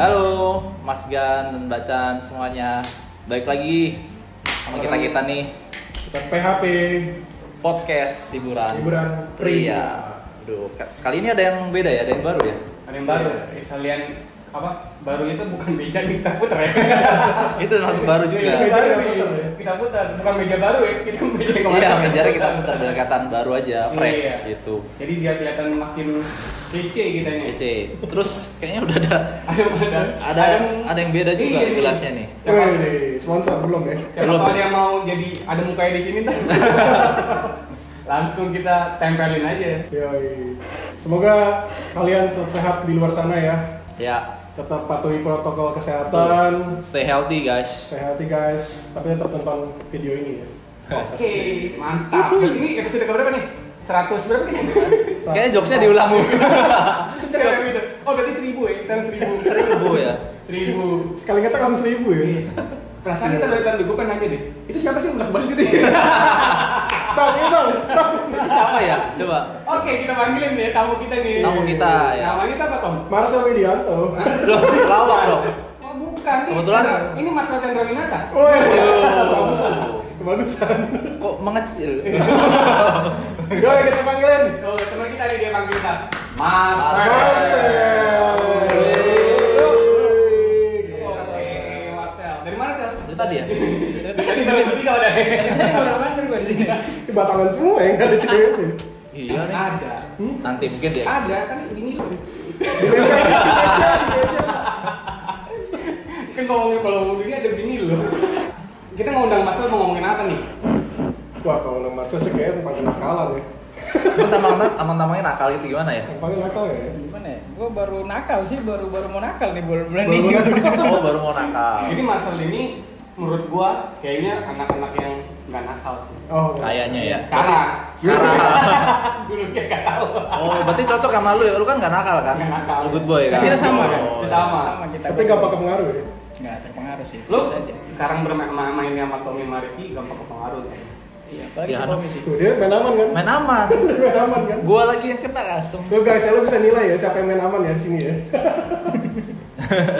Halo, Mas Gan dan Bacan semuanya. Baik lagi sama kita kita nih Kita PHP podcast hiburan. hiburan Pria. Aduh, ka- kali ini ada yang beda ya, ada yang baru ya. Ada yang baru, Eh, kalian apa? Baru itu bukan meja nih, kita putar ya. Itu masuk baru Meja Meja Iya, juga. baru kita putar ya? kita putar, bukan meja baru ya, kita meja yang kemarin. Iya, mejarnya kita putar kan? pendekatan baru aja, fresh Iya. gitu. Jadi dia kelihatan makin kece kita nih. Kece. Terus kayaknya udah ada Ada ada ada ada yang beda juga Iya, iya. gelasnya nih. Siapa- Wih, sponsor belum ya? siapa Belum. tahu yang mau jadi ada mukanya di sini tuh. Langsung kita tempelin aja. Yoi. Semoga kalian tetap sehat di luar sana ya. Ya, Tetap patuhi protokol kesehatan. stay healthy guys. Stay healthy guys, tapi tetap tonton video ini ya. Oke, mantap. Ini episode keberapa nih? 100 berapa kita? Kayaknya jokesnya diulang Cewek itu. Oh berarti seribu ya? Sekarang seribu. seribu ya. Seribu. Sekali kata langsung seribu ya. Perasaan kita dari tahun dulu, gue pengen nanya deh. Itu siapa sih yang balik gitu ya? Bang, ini bang. Bang. Ini siapa ya? Coba. Oke, kita panggilin nih tamu kita nih. Tamu kita, ya. Namanya siapa Tom? Marcel Widianto. Loh, lawak dong. Oh bukan. Ini Kebetulan. Chandra- Ini Mas Chandra Winata. Woi, Aduh. bagusan, bagusan. Kok mengecil? Yoi, kita panggilin. Oh teman kita nih dia panggil kita. Marcel. Marcel. Yeay. Yeay. Oke, Marcel. Dari mana Sel? Itu tadi ya? Dari Dari bertiga udah. Dari mana gue di sini? Ini batangan semua ya, nggak ada ceweknya. Iya nih. ya. Ada. Nanti mungkin dia. Ada kan ini lu. Di meja, di meja, di meja. Kan kalau ngomongin kalau ngomongin ini ada bini lu. Kita ngundang Marcel mau ngomongin apa nih? Wah, kalau nang Marcel sih kayaknya tempat kenakalan ya. Teman-teman, teman-temannya nakal itu gimana ya? Yang paling nakal ya. Gimana ya? Gue baru nakal sih, baru baru mau nakal nih bulan-bulan Baru ini. nakal. Oh, baru mau nakal. Jadi Marcel ini menurut gua kayaknya anak-anak yang nggak nakal sih. Oh, Kayaknya ya. Sekarang. Sekarang. Dulu kayak nggak tahu. Oh, berarti cocok sama lu ya. Lu kan gak nakal kan? Nggak nakal. Lu good boy kan? Kita sama kan? Oh, Kita sama. Sama kita. Tapi nggak pakai pengaruh ya. Nggak terpengaruh sih. Lu biasa aja. sekarang bermain-mainnya sama Tommy Mariki gampang kepengaruh kan? Iya, apalagi Ya, si anak- Tommy sih. Tuh dia main aman kan? Main aman. Main aman kan? Gua lagi yang kena kasem. Lo guys, lo bisa nilai ya siapa yang main aman ya di sini ya.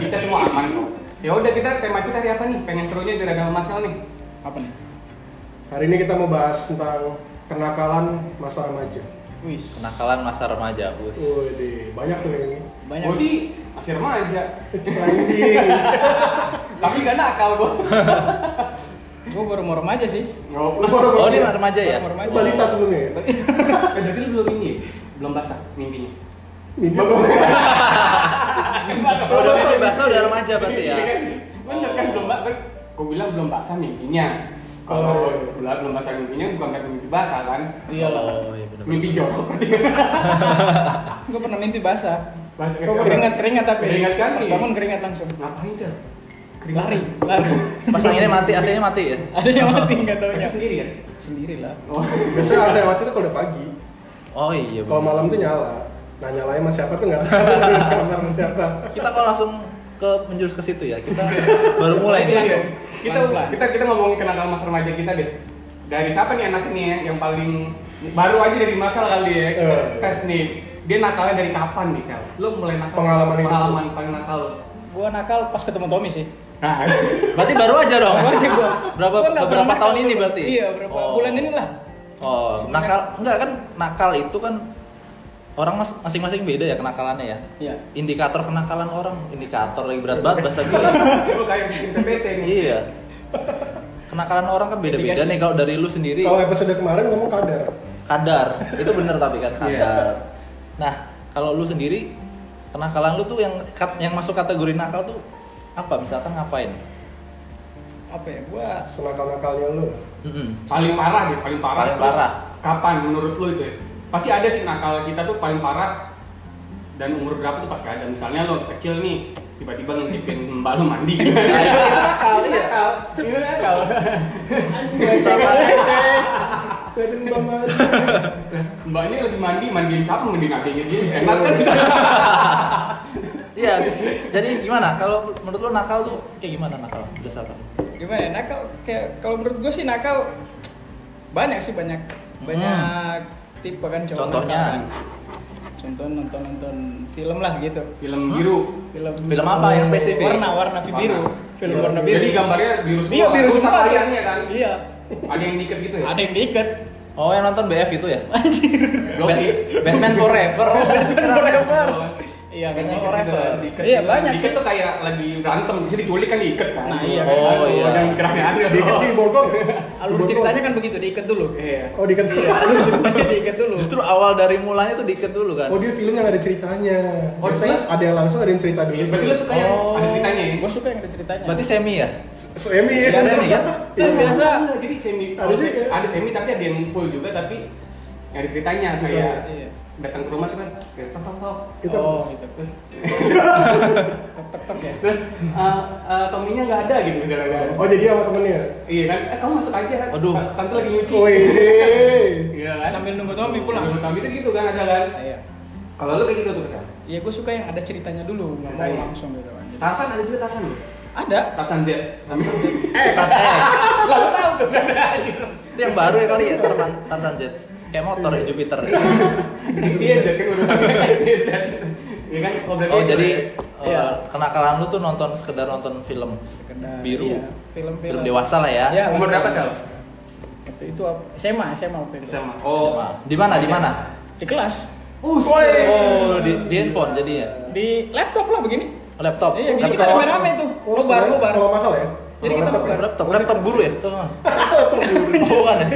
Kita semua aman kok. Ya udah kita tema kita hari apa nih? Pengen serunya dari agama Marcel nih. Apa nih? Hari ini kita mau bahas tentang kenakalan masa remaja. Wis. Kenakalan masa remaja, Bus. Waduh, banyak tuh yang ini. Banyak. Gua sih masih remaja, Anjing. tapi nggak nakal gua. Gue baru mau remaja sih. Oh, Lu baru Oh, ini remaja. remaja ya? Lu Baru remaja. balita sebelumnya ya? berarti lu belum ini, ya? belum basah mimpinya. Mimpi. Oh, udah udah basah udah remaja berarti ya. Iya kan? Bener kan belum basah. Gue bilang belum basah mimpinya. Oh. Kalau belum belum basah mimpinya bukan karena mimpi basah kan. Iya lah. Oh, iya benar. Mimpi jorok. Gue pernah mimpi basah. Basah Oh, jorok. Keringat keringat tapi. Keringat kan? Pas bangun keringat langsung. Ngapain sih? Lari, lari. Pasanginnya mati, AC-nya mati ya? Ada yang mati nggak Tapi taunya. sendiri kan? Sendiri lah. Oh. Biasanya AC mati itu kalau udah pagi. Oh iya. Kalau bener. malam tuh nyala. Nah nyalain sama siapa tuh nggak tahu. Kamar sama siapa. Kita kalau langsung ke menjurus ke situ ya. Kita baru mulai Iya, iya. nih. Kita Pelan-pelan. kita kita ngomongin kenakalan masa remaja kita deh. Dari siapa nih anak ini ya yang paling baru aja dari masal kali ya? Kita Eh. Tes nih. Dia nakalnya dari kapan nih, Sel? Lu mulai nakal? Pengalaman hidup. pengalaman paling nakal. lu. Gue nakal pas ketemu Tommy sih. Nah, Berarti baru aja dong. Baru aja gua. Berapa Gua nggak berapa pernah nakal tahun ini dulu. berarti? Iya, berapa Oh. bulan ini lah. Oh, nakal enggak kan nakal itu kan orang mas- masing-masing beda ya kenakalannya ya. Iya. Indikator kenakalan orang, indikator lagi berat banget bahasa gue. lu kayak bikin PPT nih. iya. Kenakalan orang kan beda-beda Indikasi. nih kalau dari lu sendiri. Kalau episode kemarin ngomong kadar. Kadar. Itu bener tapi kan Iya. kadar. Nah, kalau lu sendiri kenakalan lu tuh yang kat- yang masuk kategori nakal tuh apa? Misalkan ngapain? Apa ya? Gue Senakal-nakalnya lu. Mm-mm. paling parah deh paling parah Paling Terus, parah. kapan menurut lo itu ya pasti ada sih nakal kita tuh paling parah dan umur berapa tuh pasti ada misalnya lo kecil nih tiba-tiba ngintipin mbak lo mandi gitu Nah, itu- itu nakal, Itu iya. nakal itu nakal Sama receh. Liatin gambar. mbak ini lagi mandi mandiin siapa mandiin adiknya dia enak kan Iya. Jadi gimana? Kalau menurut lu nakal tuh kayak gimana nakal? Dasar gimana ya, nakal kayak kalau menurut gue sih nakal banyak sih banyak banyak tipe kan cowok Contohnya? nakal kan. contoh nonton nonton film lah gitu Film biru. film Film apa yang spesifik? Oh, warna warna biru Warna. film Iya. warna biru Jadi gambarnya biru semua. iya biru Rusak semua variannya kan. iya Ada yang diikat gitu ya. ada yang diikat Oh yang nonton BF itu ya? anjir Bat- Batman Forever. forever iya Yang kayaknya diikat gitu, forever diikat iya gitu. banyak Diikat sih tuh kayak lagi berantem, bisa diculik kan diikat kan. Nah, iya, kan. Oh Oh, iya. iya. Yang geraknya gitu. aneh. Diikat di borgong. alur Di borgong. ceritanya kan begitu diikat dulu Iya. Oh diikat. alur ceritanya diikat dulu Justru awal dari mulanya tuh diikat dulu kan? Oh dia film yang ada ceritanya. Oh, Biasanya dia- ada yang langsung ada yang cerita dulu. Berarti lo suka yang Oh. ada ceritanya ya? gue Iya. suka yang ada ceritanya Berarti semi ya? Semi ya. Iya, semi, kan? Itu Iya. biasa. jadi semi Ada ada, juga. ada semi tapi ada yang full juga tapi nyari ceritanya Juga, kayak iya. datang ke rumah tuh kan kayak tok tok tok Kita oh putus. gitu terus tek tek tek ya terus eh, eh, Tominya nggak ada gitu misalnya kan Oh jadi sama temennya. iya kan eh, kamu masuk aja Aduh. Tan- tante lagi nyuci Oh, iya. Woi. iya kan sambil nunggu Tommy pulang Menurut Tommy tuh gitu kan ada kan iya kalau lu kayak gitu tuh kan ya gue suka yang ada ceritanya dulu nggak mau Ceritanya. langsung gitu kan Tarsan ada juga Tarsan loh ada Tarsan Z Tarsan Z Eh. lalu tahu tuh kan Itu yang baru ya kali ya Tarzan Tarzan Jet. Kayak motor ya Jupiter. iya Z kan urutannya Z iya kan obrolannya Oh itu ya. jadi eh, Iya. kenakalan lu tuh nonton sekedar nonton film sekedar biru. iya, film-film Film dewasa lah ya. Iya, Umur film berapa, Sel? dewasa. Waktu itu apa? SMA SMA waktu itu sama oh Sama. Di mana? Di mana? di kelas Uh, Oh, di, di handphone jadinya. di laptop lah begini Laptop. iya gini kita laptop. rame-rame tuh Oh, sekolah- nobar nobar Sekolah mahal ya. Jadi kita Laptop ya? nobar. Laptop, laptop guru ya, tuh. Oh, bukan ya?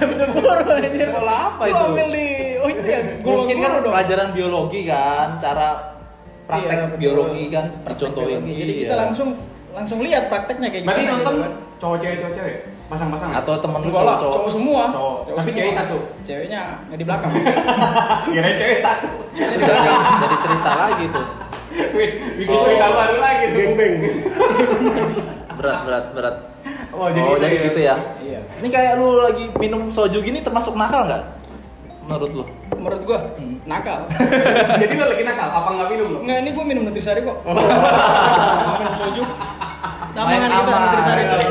nobar anjir Sekolah apa Gua itu? ambil di oh itu ya guru Mungkin kan guru dong pelajaran biologi kan, cara praktek Iya, betul. biologi kan Praktek dicontohin. biologi. jadi kita Iya. langsung langsung lihat prakteknya kayak Berarti gimana nonton gitu kan. cowok cewek cowok cewek pasang pasangan atau temen lu Enggak lah, cowok-cowok. cowok semua. Cowok. Tapi semua. cewek satu. Ceweknya nggak di belakang. Ah, kira cewek satu. Jadi jadi cerita lagi tuh. Bikin Oh. cerita baru lagi tuh. Gengbeng. Berat, berat, berat. Oh, jadi gitu ya. gitu ya. iya. Ini kayak lu lagi minum soju gini termasuk nakal nggak? Menurut lu? Menurut gua Hmm. nakal. Jadi lo lagi nakal, apa nggak minum lo? Enggak, ini gua minum nutrisari kok. Oh. minum soju. Sama kan kita aman. Iya. nutrisari coy.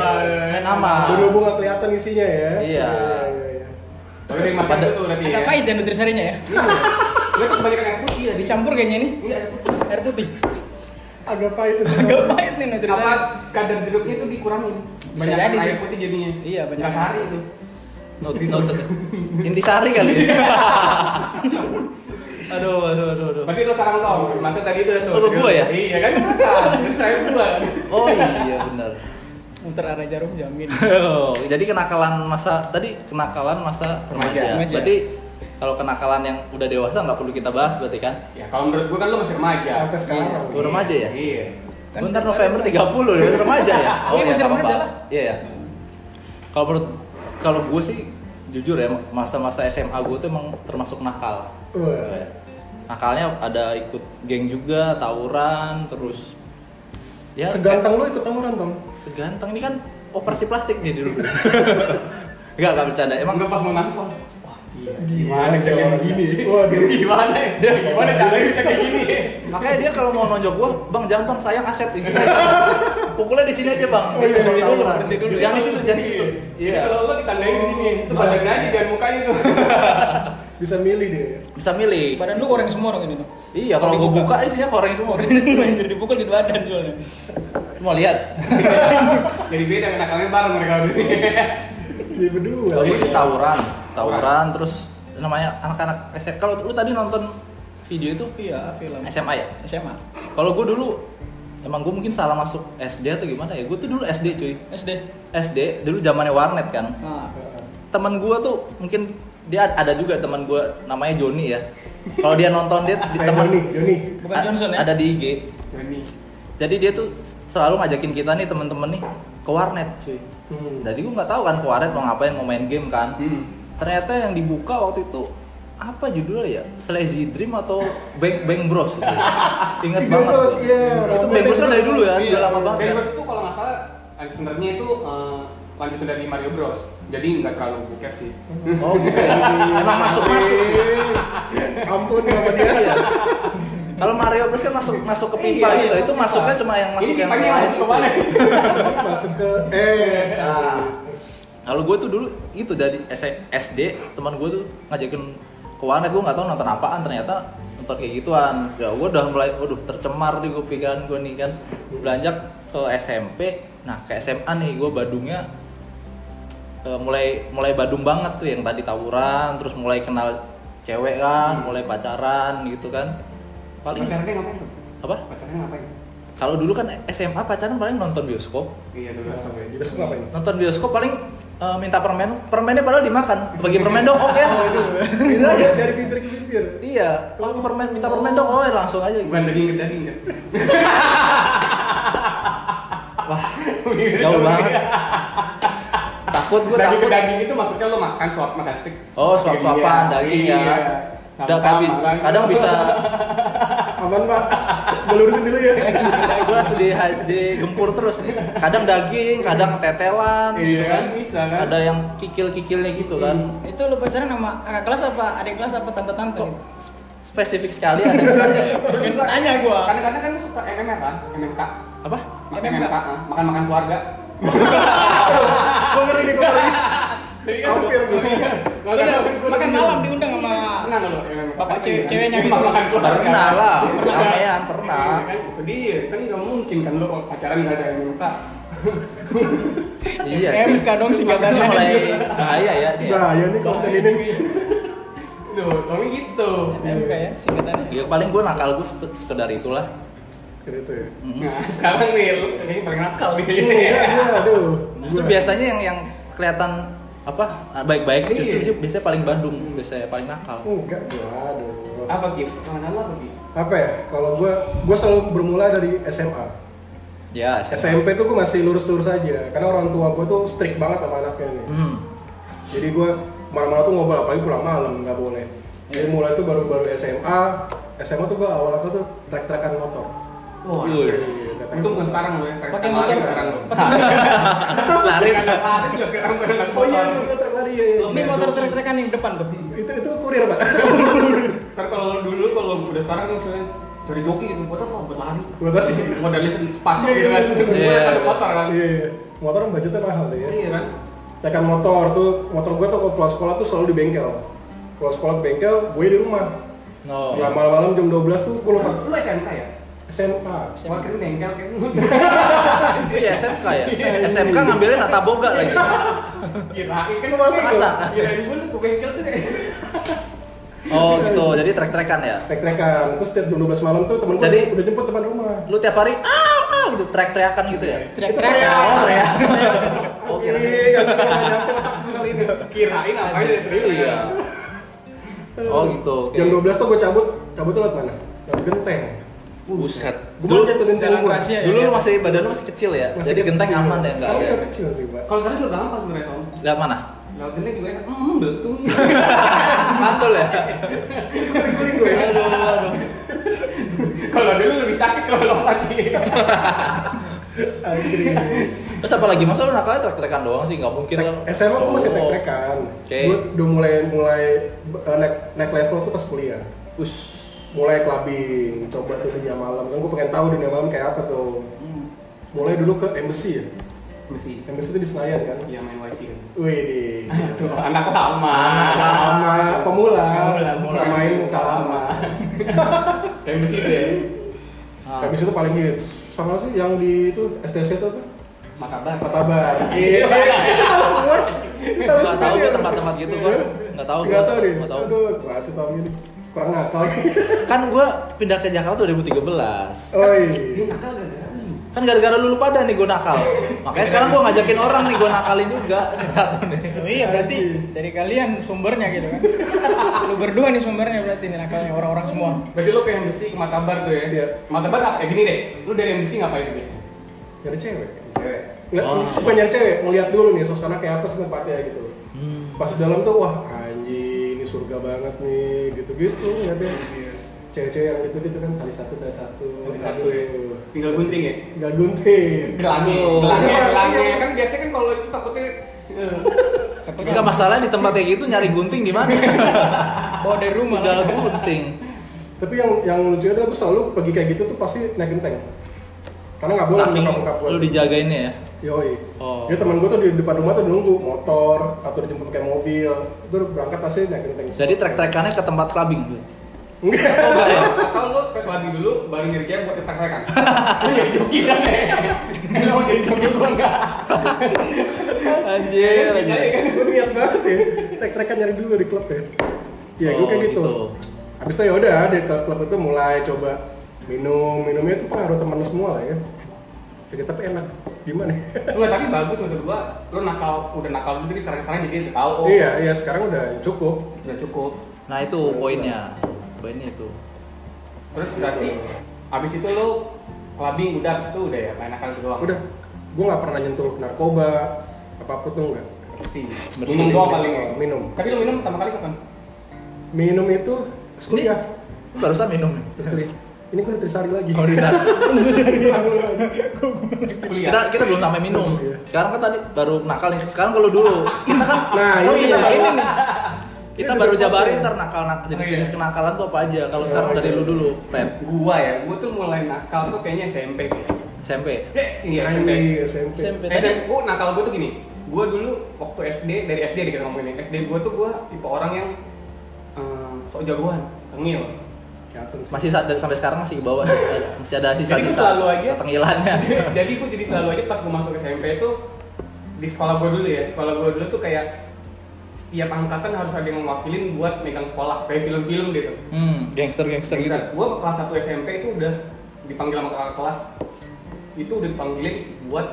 Main aman. Berhubung nggak kelihatan isinya ya. Ah. Iya. iya, iya. Tapi dari makan Pada- itu berarti ya. Agak pahit ya nutrisarinya ya. Iya. Lo tuh kebanyakan air putih ya. Dicam. Dicampur kayaknya ini Iya. air putih. air putih. Agak pahit itu. Agak pahit nih Apa nutrisari. kadar jeruknya itu dikurangin? Bisa Banyak jadi air sih. putih jadinya. Iya, banyak. Nggak sehari itu. Nut, nut, intisari kali ya. aduh, aduh, aduh, aduh. Berarti lo sarang tau. Masa tadi itu udah tuh. Suruh gua ya? Iya kan? Bukan. Terus saya gua. Oh iya benar. Muter arah jarum jamin. Jadi kenakalan masa tadi kenakalan masa remaja. Remaja. Berarti kalau kenakalan yang udah dewasa nggak perlu kita bahas berarti kan? Ya kalau menurut gua kan lo masih remaja. Sampai sekarang. Gua remaja ya? Iya. Kan Bentar setiap November hari 30 ya, remaja ya? Iya, nggak masih remaja apa-apa. lah. Iya ya. Kalau menurut kalau gue sih jujur ya masa-masa SMA gue tuh emang termasuk nakal. Wah. Nakalnya ada ikut geng juga, tawuran, terus ya Seganteng lu ikut tawuran Tom. seganteng ini kan operasi plastik nih dulu. Enggak, enggak bercanda. Emang Emang nggak pas mau nampol. Wah, iya. Gimana Gimana cara kayak gini? iya. Waduh. Gimana? ya? Gimana caranya bisa kayak gini? Makanya dia kalau mau nonjok gua, bang jangan bang sayang aset di sini. aja." Pukulnya di sini aja bang. Oh, iya, Berhenti dulu, tawuran. berhenti dulu. Jangan di situ, jangan di situ. Iya. Iya. Jadi Kalau lo ditandain di sini, itu Bisa. badannya aja dan mukanya tuh. Bisa milih deh. Bisa milih. Badan lu goreng semua dong ini tuh. Iya, kalau gua buka isinya koreng semua. Anjir dipukul di badan soalnya. Mau lihat? Jadi beda kenakalnya bareng mereka berdua. Jadi berdua. Kalau gua sih Iya. tawuran, tawuran terus namanya anak-anak SMA. Kalau lu tadi nonton video itu Iya, film. SMA ya? SMA. Kalau gua dulu emang gua mungkin salah masuk SD atau gimana ya? Gua tuh dulu SD cuy. SD. SD dulu zamannya warnet kan. Nah, teman gue tuh mungkin dia ada juga teman gue namanya Joni ya kalau dia nonton dia di Ayo, teman Joni, Joni. bukan Johnson Ah, ya? ada di IG Ini. jadi dia tuh selalu ngajakin kita nih teman-teman nih ke warnet cuy Hmm. jadi gue nggak tahu kan ke warnet mau ngapain mau main game kan Hmm. ternyata yang dibuka waktu itu apa judulnya ya Slazy Dream atau Bang Bang Bros gitu. ingat Bang banget Bros, iya. itu Bang Bros kan dari dulu ya Iya. udah lama banget Dan ya. Bros itu kalau nggak salah sebenarnya itu eh, lanjutan dari Mario Bros. Jadi nggak terlalu bukep sih. oh gitu ya emang masuk masuk Eh, Iya. Ampun sama dia. kalau Mario Bros kan masuk masuk ke pipa Iya, gitu iya, itu pipa. masuknya cuma yang masuk Ini yang pagi lain masuk gitu. kemana? Masuk ke eh. Nah, kalau gue tuh dulu itu dari S- SD teman gue tuh ngajakin keuangan gue nggak tahu nonton apaan ternyata nonton kayak gituan ya gue udah mulai waduh tercemar di gue pikiran gue nih kan beranjak ke SMP nah ke SMA nih gue badungnya eh, mulai mulai badung banget tuh yang tadi tawuran terus mulai kenal cewek kan mulai pacaran gitu kan paling pacarnya ngapain tuh? apa Pacarnya ngapain? kalau dulu kan SMA pacaran paling nonton bioskop Iya dulu sampai Nah, Besok ngapain? nonton bioskop paling eh, minta permen permennya padahal dimakan bagi permen dong oke Oh, Gitu aja. dari pinter ke pinter. iya langsung permen minta permen dong oh langsung aja Bukan daging ke daging kan? wah jauh banget takut gue Iya, Daging ke takut daging itu maksudnya lo makan suap makan stik. oh suap suapan daging ya Iya. udah Sama-sama kadang, kan. kadang bisa Aman pak, ngelurusin dulu ya. gue langsung di, digempur terus nih kadang daging kadang tetelan gitu Iya Hmm. kan kan bisa kan. ada yang kikil kikilnya gitu kan Itu lu pacaran sama kakak kelas apa adik kelas apa tante-tante? Kok spesifik sekali ada yang- Bikin tanya gua. Kadang-kadang kan suka MMR kan, MMK. apa Makan MMK. MMK, ah. makan-makan keluarga. Gue ngeri nih, gue ngeri. Hampir gue. Udah, Iya. makan malam diundang sama Pernah nggak lo MMK? Bapak cewek- ceweknya Iya. Makan- gitu. makan keluarga. pernah lah ramean pernah Iya, kan itu dia, kan nggak mungkin kan lo kalau pacaran nggak ada MMK. iya sih. MK dong Ini singkatannya. mulai bahaya ya ini ya. Nah, ya nih konten ini nih. Duh, tapi gitu. iya. MK ya singkatannya. Ya, paling gue nakal gue sekedar itulah Kayak Gitu ya. Nah, sekarang nih, lo kayaknya paling nakal nih. Iya, iya, aduh. Justru Gua. biasanya yang yang kelihatan apa ah, baik-baik Iya. justru dia biasanya paling Bandung biasanya paling nakal. Enggak, gue aduh. Apa gitu? Pertemanan lo apa gitu? Apa ya? Kalau gue, gue selalu bermula dari SMA. Ya, saya. SMP tuh gue masih lurus-lurus aja, karena orang tua gue tuh strict banget sama anaknya nih. Hmm. Jadi gue malam-malam tuh ngobrol, apalagi pulang malam nggak boleh. Jadi mulai tuh baru-baru SMA, SMA tuh gue awal-awal tuh trek-trekan motor. Wah, Wih. untung bukan sekarang lo ya. trek- Pakai trek motor. lari sekarang lo. Lari. Kadang lari lo sekarang gue dengan Oh iya, motor. gue trek lari ya. ya. Ini motor trek-trekan yang depan tuh. Itu itu kurir pak. Ntar kalau dulu kalau udah sekarang kan misalnya cari joki gitu, motor mau buat lari. Buat lari. Modelnya sepatu Iya, gitu kan. iya. Gue ada motor kan. Iya, iya. motor kan budgetnya mahal tuh ya. Iya kan. Trekan motor tuh, motor gue tuh kalau pulang sekolah tuh selalu di bengkel. Pulang sekolah ke bengkel, gue di rumah. No. Nah malam-malam jam 12 tuh gue lupa Lu SMK ya? SMA. SMA. Wah keren bengkel keren. Iya, SMK ya. SMK ngambilnya tata boga lagi. Kirain kan Lu masuk gua- masa? Kirain gue lu ke bengkel tuh kayak. Oh, gitu. Jadi trek-trekan ya. Trek-trekan, terus tiap jam 12 malam tuh temen gue Jadi- udah jemput depan rumah. Lu tiap hari ah, ah gitu trek-trekan gitu ya. Trek-trekan. Oh, Iya. ya. Oke, iya, kita nggak nyampe otak gue kali ini. Kirain apa ya, aja kirain. Iya. Oh, gitu. Oke. Jam 12 tuh gue cabut, cabut tuh lewat mana? Lewat genteng. Buset. Gue Dulu, mau jatuh genteng jalan gue. rahasia ya? dulu lu masih badan lu masih kecil ya. Masih Jadi genteng kecil. aman ya enggak Sekarang ya. udah kecil sih, Pak. Kalau sekarang juga gampang sebenarnya Tom. Lihat mana? Lewat genteng juga enak. Hmm betul. Mantul ya. Guling-guling gue. Kalau dulu lebih sakit kalau lompat gitu. Anjing. Terus apa lagi? Masa lu nakalnya trek-trekan doang sih? Nggak mungkin lah. Tek- SMA gue masih Oh. trek-trekan. Oke. Gue udah mulai mulai eh, naik naik level tuh pas kuliah. Us. Mulai clubbing, coba tuh dunia malam. Kan gue pengen tahu dunia malam kayak apa tuh. Hmm. Mulai dulu ke embassy ya. Mesti. Embassy itu di Senayan kan. Iya main YC kan. Wih, di Tuh, anak lama. Anak lama pemula, Pemula, pemula. main muka lama. Yang di situ ya. Ah. Habis itu paling hits sama sih yang di itu STC itu apa? Makabar. Patabar. Iya, kita tahu semua. Kita Nggak tahu dia. Iya. gue tempat-tempat gitu gue. Nggak tahu. Nggak gua. tahu deh. Nggak tahu. Aduh, kacau tahun ini kurang nakal. Kan gue pindah ke Jakarta 2013. Oi. Ini nakal gara-gara lu. Kan gara-gara lu lupa pada nih gue nakal. Makanya sekarang gue ngajakin orang nih gue nakalin juga. Nggak tahu nih. Oh iya berarti dari kalian sumbernya gitu kan. Lu berdua nih sumbernya berarti nih nakalnya orang-orang semua. Berarti lo ke MBC ke Matabar tuh ya? Iya. Matabar apa? Ya gini deh, lo dari MBC ngapain biasanya? Nyari cewek. Cewek. Nggak, Oh. bukan nyari cewek, ngeliat dulu nih suasana kayak apa sih tempatnya gitu. Hmm. Pas di dalam tuh wah anjing ini surga banget nih gitu-gitu ngeliatnya. Cewek-cewek yang gitu-gitu kan kali satu kali satu Kali Iya. satu ya. Aduh. Tinggal gunting ya? Gak gunting. Gelangi, Oh. gelangi, Iya, gelangi. iya. Kan biasanya kan kalau itu takutnya eh, Nggak masalah di tempat kayak gitu nyari gunting di mana? Bawa dari rumah Tinggal langsung. gunting. Tapi yang yang lucu adalah gue selalu pergi kayak gitu tuh pasti naik genteng. Karena nggak boleh Saking buka buka lu dijagainnya ya. Yoi. Oh. Dia teman gue tuh di depan rumah tuh nunggu motor atau dijemput pakai mobil. Itu berangkat pasti naik genteng. Jadi trek-trekannya ke tempat clubbing. Bu. Oh, enggak ya? Atau lu ke clubbing dulu baru nyari cewek buat ditek-tekan. Lu jadi joki kan ya? Lu mau jadi joki gua enggak. Anjir, Bisa ya kan? Gue Iya, niat banget ya. Trek-trekan nyari dulu di klub ya. Iya, gue Oh, kayak gitu. gitu. Habis itu ya yaudah dari klub-klub itu mulai coba minum minumnya itu pengaruh teman semua lah ya. Jadi tapi enak gimana? ya? Enggak, tapi bagus maksud gua. Lu nakal, udah nakal dulu jadi sekarang-sekarang jadi udah tahu. Oh, iya iya sekarang udah cukup. Udah cukup. Nah itu poinnya, poinnya itu. Terus berarti abis itu lu clubbing udah abis itu udah ya main nakal itu doang. Udah, gue nggak pernah nyentuh narkoba apapun tuh nggak. bersih. Bersih. Minum doang paling ya. Minum. Tapi lu minum pertama kali kapan? Minum itu pas kuliah, Barusan minum. ya? pas kuliah. Ini gue udah trisari lagi. Oh, di sana. Kuliah. kita kita belum sampai minum. Iya. Sekarang kan tadi baru nakal nih. Sekarang kalau dulu kita kan Nah, oh, iya. kita baru ini nih. Kita Ini baru udah jabarin potong. ntar nakal nakal jenis Oh, iya. jenis kenakalan tuh apa aja. Kalau Oh, sekarang dari iya. lu dulu, Pep, gua ya, gua tuh mulai nakal tuh kayaknya SMP sih. SMP. Eh, iya SMP. Anjing, SMP. SMP. SMP gue nakal gue tuh gini gue dulu waktu SD dari SD deh kita ngomongin ya. SD gue tuh gue tipe orang yang eh, sok jagoan tengil Kelihatan sih. Masih sa- dari sampai sekarang masih ke bawah sih. masih ada Jadi sisa-sisa ya. selalu aja. tenggelannya. jadi gue jadi selalu aja pas gue masuk SMP itu di sekolah gue dulu ya di sekolah gue dulu tuh kayak setiap angkatan harus ada yang mewakilin buat megang sekolah kayak film-film gitu Hmm, gangster gangster gitu. gue kelas 1 SMP itu udah dipanggil sama kakak kelas itu udah dipanggilin buat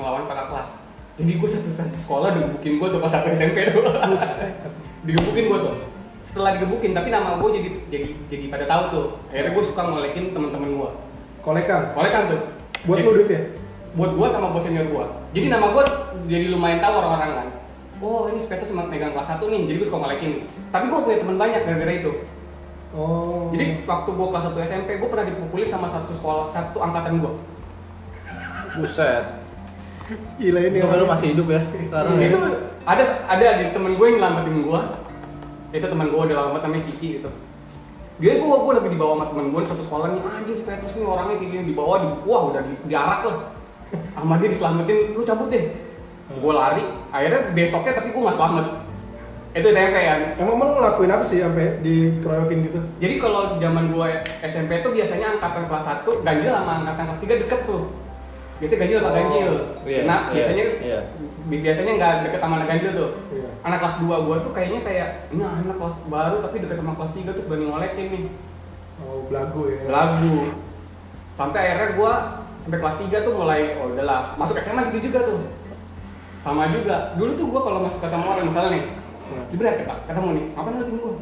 ngelawan kakak kelas jadi gue satu satu sekolah digebukin gue tuh pas satu SMP tuh digebukin gue tuh setelah digebukin tapi nama gue jadi jadi jadi pada tahu tuh akhirnya gue suka ngolekin teman-teman gue Kolekan. kolekan kan tuh Buat Jadi- lu duit ya? buat gue sama buat senior gue jadi nama gue jadi lumayan tahu orang-orang kan oh ini Spetus cuma megang kelas 1 nih jadi gue suka ngolekin tapi gue punya teman banyak gara-gara itu Oh. jadi waktu gue kelas 1 SMP, gue pernah dipukulin sama satu sekolah, satu angkatan gue. Buset. gila ini. Ini orang. lu masih hidup ya sekarang. itu ada ada di temen gue yang nyelamatin gue. Itu temen gue udah lama banget, namanya Kiki gitu. Dia gue gue lebih dibawa sama temen gue di satu sekolah nih, anjing si Petrus nih orangnya kayak gini dibawa di wah udah di, diarak lah. Sama dia diselamatin, lu cabut deh. Gue lari, akhirnya besoknya tapi gue gak selamat. Itu SMP kan. Emang lu ngelakuin apa sih sampai dikeroyokin gitu? Jadi kalau zaman gua SMP tuh biasanya angkatan kelas 1 ganjil sama angkatan kelas 3 deket tuh. Biasanya ganjil sama Oh, ganjil. iya, nah, iya, biasanya iya. bi- biasanya nggak deket sama anak ganjil tuh. Iya. Anak kelas 2 gua tuh kayaknya kayak ini anak kelas baru tapi deket sama kelas 3 tuh berani ngolekin nih. Oh, belagu ya. Lagu. Sampai akhirnya gua sampai kelas 3 tuh mulai oh udahlah, masuk SMA gitu juga tuh. Sama juga. Dulu tuh gua kalau masuk ke sama orang misalnya nih, Hmm. di Berat kita ketemu nih, apa ngeliatin gua?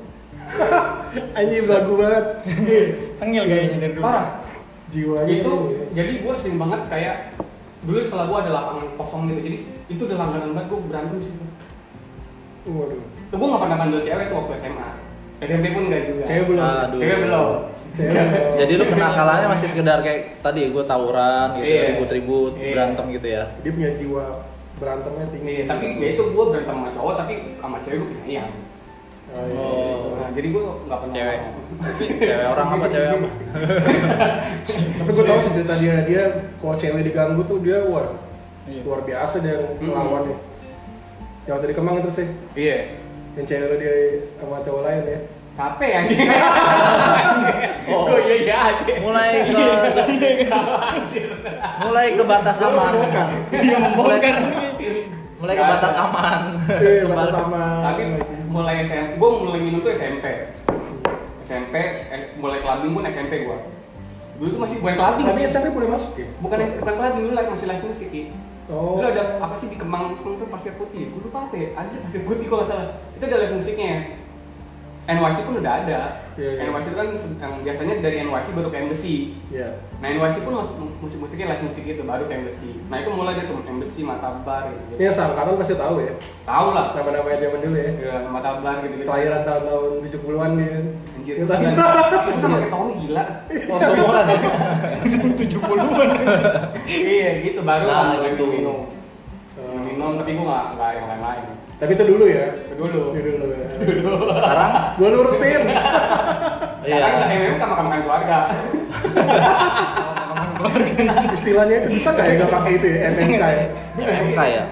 Anjing belagu banget. Tengil kayaknya Iya, dari dulu. Parah. Jiwanya itu ini ya. jadi gue sering banget kayak dulu sekolah gue ada lapangan kosong gitu jadi itu udah langganan banget gue berantem sih Waduh. tuh gue gak pernah bandel cewek tuh waktu SMA SMP pun gak juga Cewek belum. Aduh. Cewek belum Cewek belum. Jadi lu kenakalannya masih sekedar kayak tadi gue tawuran gitu, Iya. ribut-ribut, Iya. berantem gitu ya. dia punya jiwa berantemnya tinggi. Iya, tapi ya itu gue berantem sama cowok tapi sama cewek gue punya iya Oh, iya. Oh. nah, jadi gue gak pernah Cewek. Cewek orang apa cewek apa? Tapi gue tau sih cerita dia, dia kalau cewek diganggu tuh dia wah Iya. luar biasa dia Mm-mm. melawannya. Yang waktu di Kemang itu sih, iya yang cewek lu dia sama cowok lain ya. capek ya anjing Oh. oh iya iya aja Mulai ke mulai ke batas aman. Dia membongkar. Mulai ke batas Iya. aman. Eh, batas sama. Oh. tapi mulai SMP gue mulai minum tuh SMP SMP eh, mulai clubbing pun SMP gue dulu tuh masih bukan clubbing tapi sih SMP boleh masuk ya? bukan bukan clubbing dulu live- masih live music ya Oh. dulu ada apa sih di Kemang Kemang tuh pasir putih gue lupa apa ya ada pasir putih kalau nggak salah itu ada live musiknya NYC pun udah ada Iya, iya. NYC itu kan se- yang biasanya dari NYC baru ke Embassy Iya. nah NYC pun masuk musik-musiknya live musik itu baru ke Embassy nah itu mulai dari tuh Embassy Matabar Ini gitu. yang seangkatan pasti tahu ya. tau lah Nama-namanya zaman dulu ya. Ya, Matabar gitu gitu Kelahiran tahun-tahun 70-an dia. Anjir, Yang tadi. aku sama kayak Tommy gila. Oh, seumuran ya? 70-an. iya gitu baru Nah, lah mulai gitu. minum. Minum, minum tapi gua nggak nggak yang lain-lain. Tapi itu dulu ya. Itu Dulu. Itu dulu ya. Sekarang Gua lurusin. Sekarang iya. kan nggak MM sama makan keluarga. Istilahnya itu bisa nggak ya nggak pakai itu ya, MMK ya? MMK ya